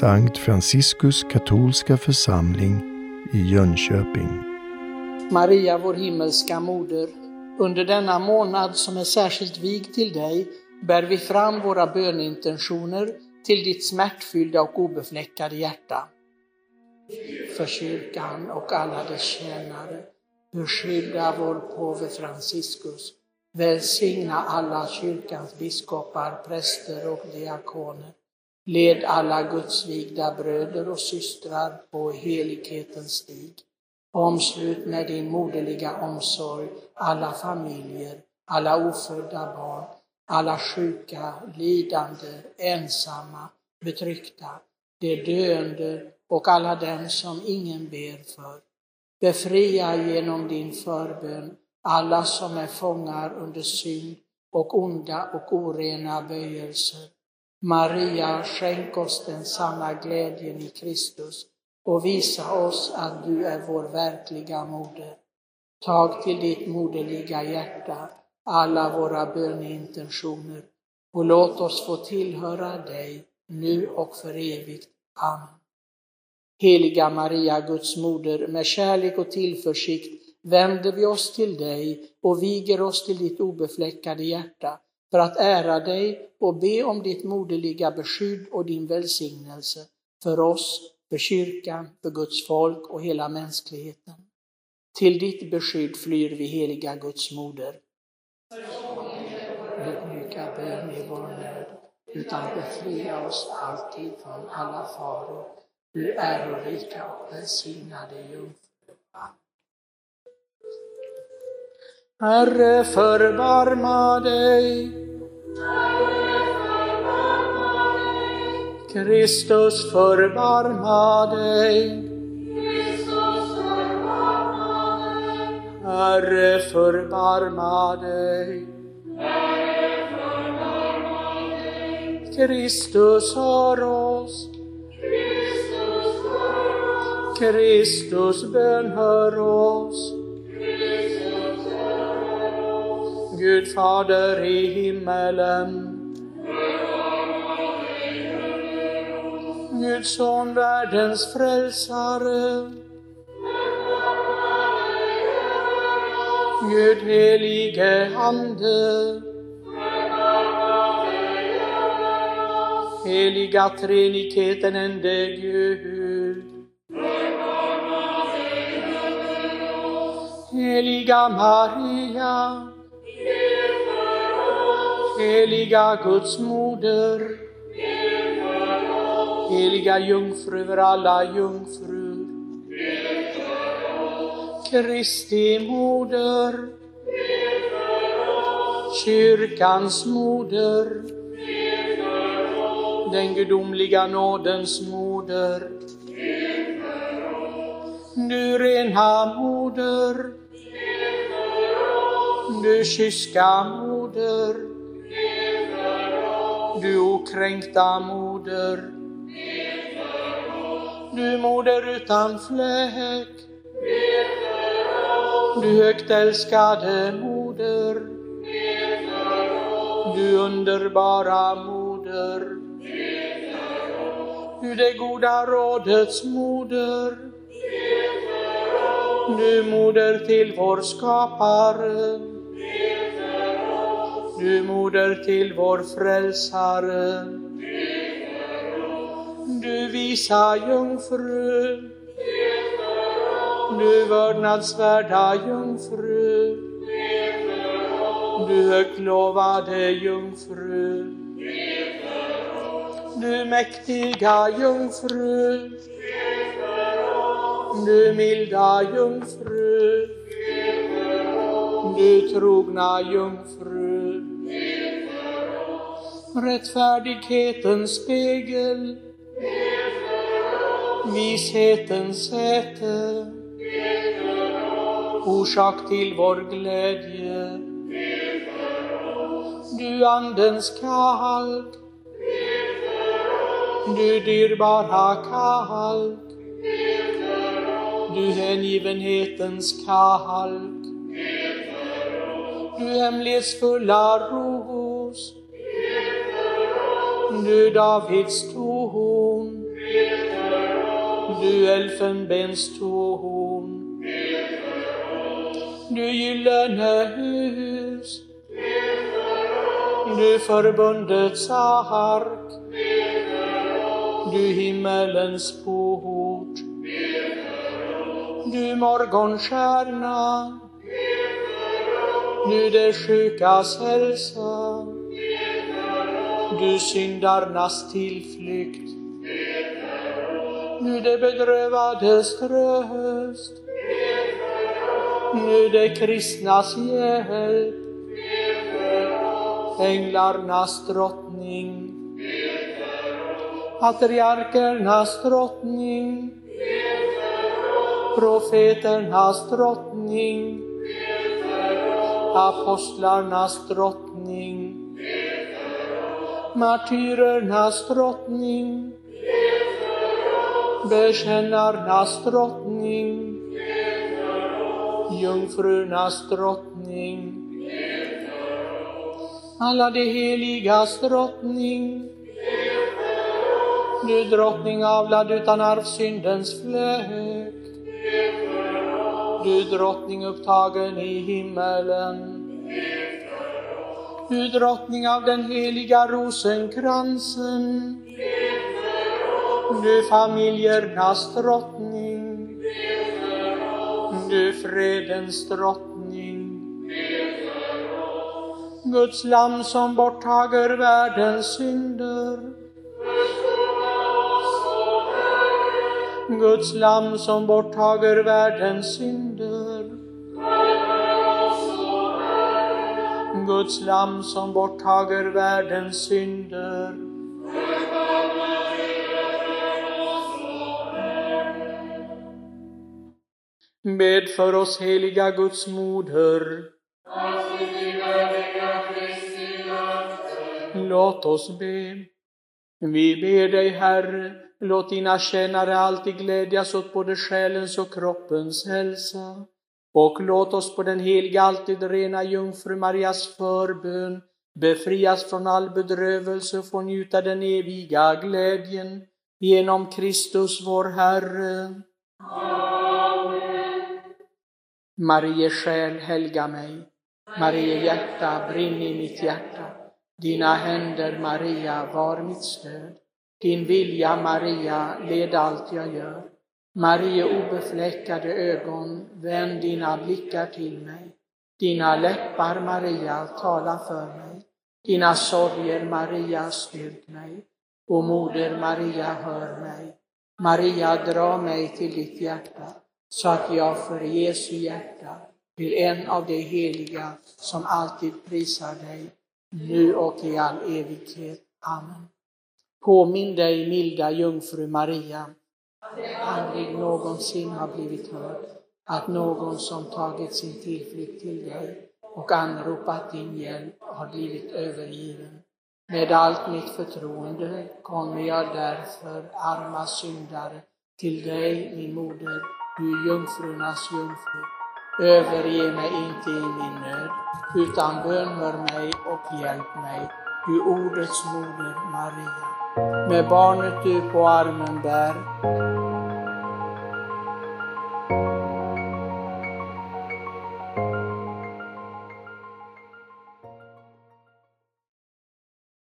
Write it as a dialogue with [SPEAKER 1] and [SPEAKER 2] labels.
[SPEAKER 1] Sankt Franciskus katolska församling i Jönköping.
[SPEAKER 2] Maria, vår himmelska moder, under denna månad som är särskilt vigd till dig bär vi fram våra bönintentioner till ditt smärtfyllda och obefläckade hjärta. För kyrkan och alla dess tjänare, beskydda vår påve Franciscus, välsigna alla kyrkans biskopar, präster och diakoner. Led alla Guds vigda bröder och systrar på helighetens stig. Omslut med din moderliga omsorg alla familjer, alla ofödda barn, alla sjuka, lidande, ensamma, betryckta, de döende och alla dem som ingen ber för. Befria genom din förbön alla som är fångar under synd och onda och orena böjelser. Maria, skänk oss den sanna glädjen i Kristus och visa oss att du är vår verkliga moder. Tag till ditt moderliga hjärta alla våra böneintentioner och låt oss få tillhöra dig nu och för evigt. Amen. Heliga Maria, Guds moder, med kärlek och tillförsikt vänder vi oss till dig och viger oss till ditt obefläckade hjärta för att ära dig och be om ditt moderliga beskydd och din välsignelse för oss, för kyrkan, för Guds folk och hela mänskligheten. Till ditt beskydd flyr vi, heliga Guds moder. Ödmjuka bön i vår nöd, utan befria oss alltid från alla faror. Du ärorika och välsignade jungfru. Herre, förbarma dig. Kristus, förbarma dig. Herre, förbarma dig. Kristus, hör oss. Kristus, bönhör oss. Gud Fader i himmelen. Guds son, världens frälsare. Gud helige Ande. Heliga treenigheten ende Gud. Heliga Maria. Heliga Guds moder. Heliga jungfru över alla jungfrur. Kristi moder. Kyrkans moder. Den gudomliga nådens moder. Du rena moder. Du kyska moder. Du okränkta moder. Du moder utan fläck. Du högt älskade moder. Du underbara moder. Du det goda rådets moder. Du moder till vår skapare. Du moder till vår frälsare. Du visa jungfru. Du vördnadsvärda jungfru. Du högtlovade jungfru. Du mäktiga jungfru. Du milda jungfru. Du trogna jungfru. Rättfärdighetens spegel. Vishetens säte. Orsak till vår glädje. Du andens kalk. Du dyrbara kalk. Du hängivenhetens kalk. Du hemlighetsfulla ros. Du Davids torn. du elfenbenstorn. Du gyllene hus. Du förbundets ark. Du himmelens port. Du morgonstjärna. Du de sjukas hälsa. Du syndarnas tillflykt. Nu det bedrövades tröst. Nu det kristnas hjälp. Änglarnas drottning. Patriarkernas drottning. Profeternas drottning. Apostlarnas drottning. Martyrernas drottning. Bekännarnas drottning. Jungfrunas drottning. Alla de heligas drottning. Du drottning avlad utan arvsyndens fläck. Du drottning upptagen i himmelen. Du drottning av den heliga rosenkransen. Du familjernas drottning. Du fredens drottning. Guds lamm som borttager världens synder. Guds lamm som borttager världens synder. Guds lamm som borttager världens synder. Bed för oss heliga Guds moder. Låt oss be. Vi ber dig, Herre, låt dina tjänare alltid glädjas åt både själens och kroppens hälsa. Och låt oss på den heliga, alltid rena jungfru Marias förbön befrias från all bedrövelse och få njuta den eviga glädjen genom Kristus vår Herre. Marie själ, helga mig. Marie hjärta, brinn i mitt hjärta. Dina händer, Maria, var mitt stöd. Din vilja, Maria, led allt jag gör. Marie obefläckade ögon, vänd dina blickar till mig. Dina läppar, Maria, tala för mig. Dina sorger, Maria, styrk mig. O moder Maria, hör mig. Maria, dra mig till ditt hjärta, så att jag för Jesu hjärta blir en av de heliga som alltid prisar dig, nu och i all evighet. Amen. Påminn dig, milda jungfru Maria, aldrig någonsin har blivit hörd, att någon som tagit sin tillflykt till dig och anropat din hjälp har blivit övergiven. Med allt mitt förtroende kommer jag därför, arma syndare, till dig, min moder, du jungfrunas jungfru. Överge mig inte i min nöd, utan bönhör mig och hjälp mig, du ordets moder Maria. Med barnet du på armen bär,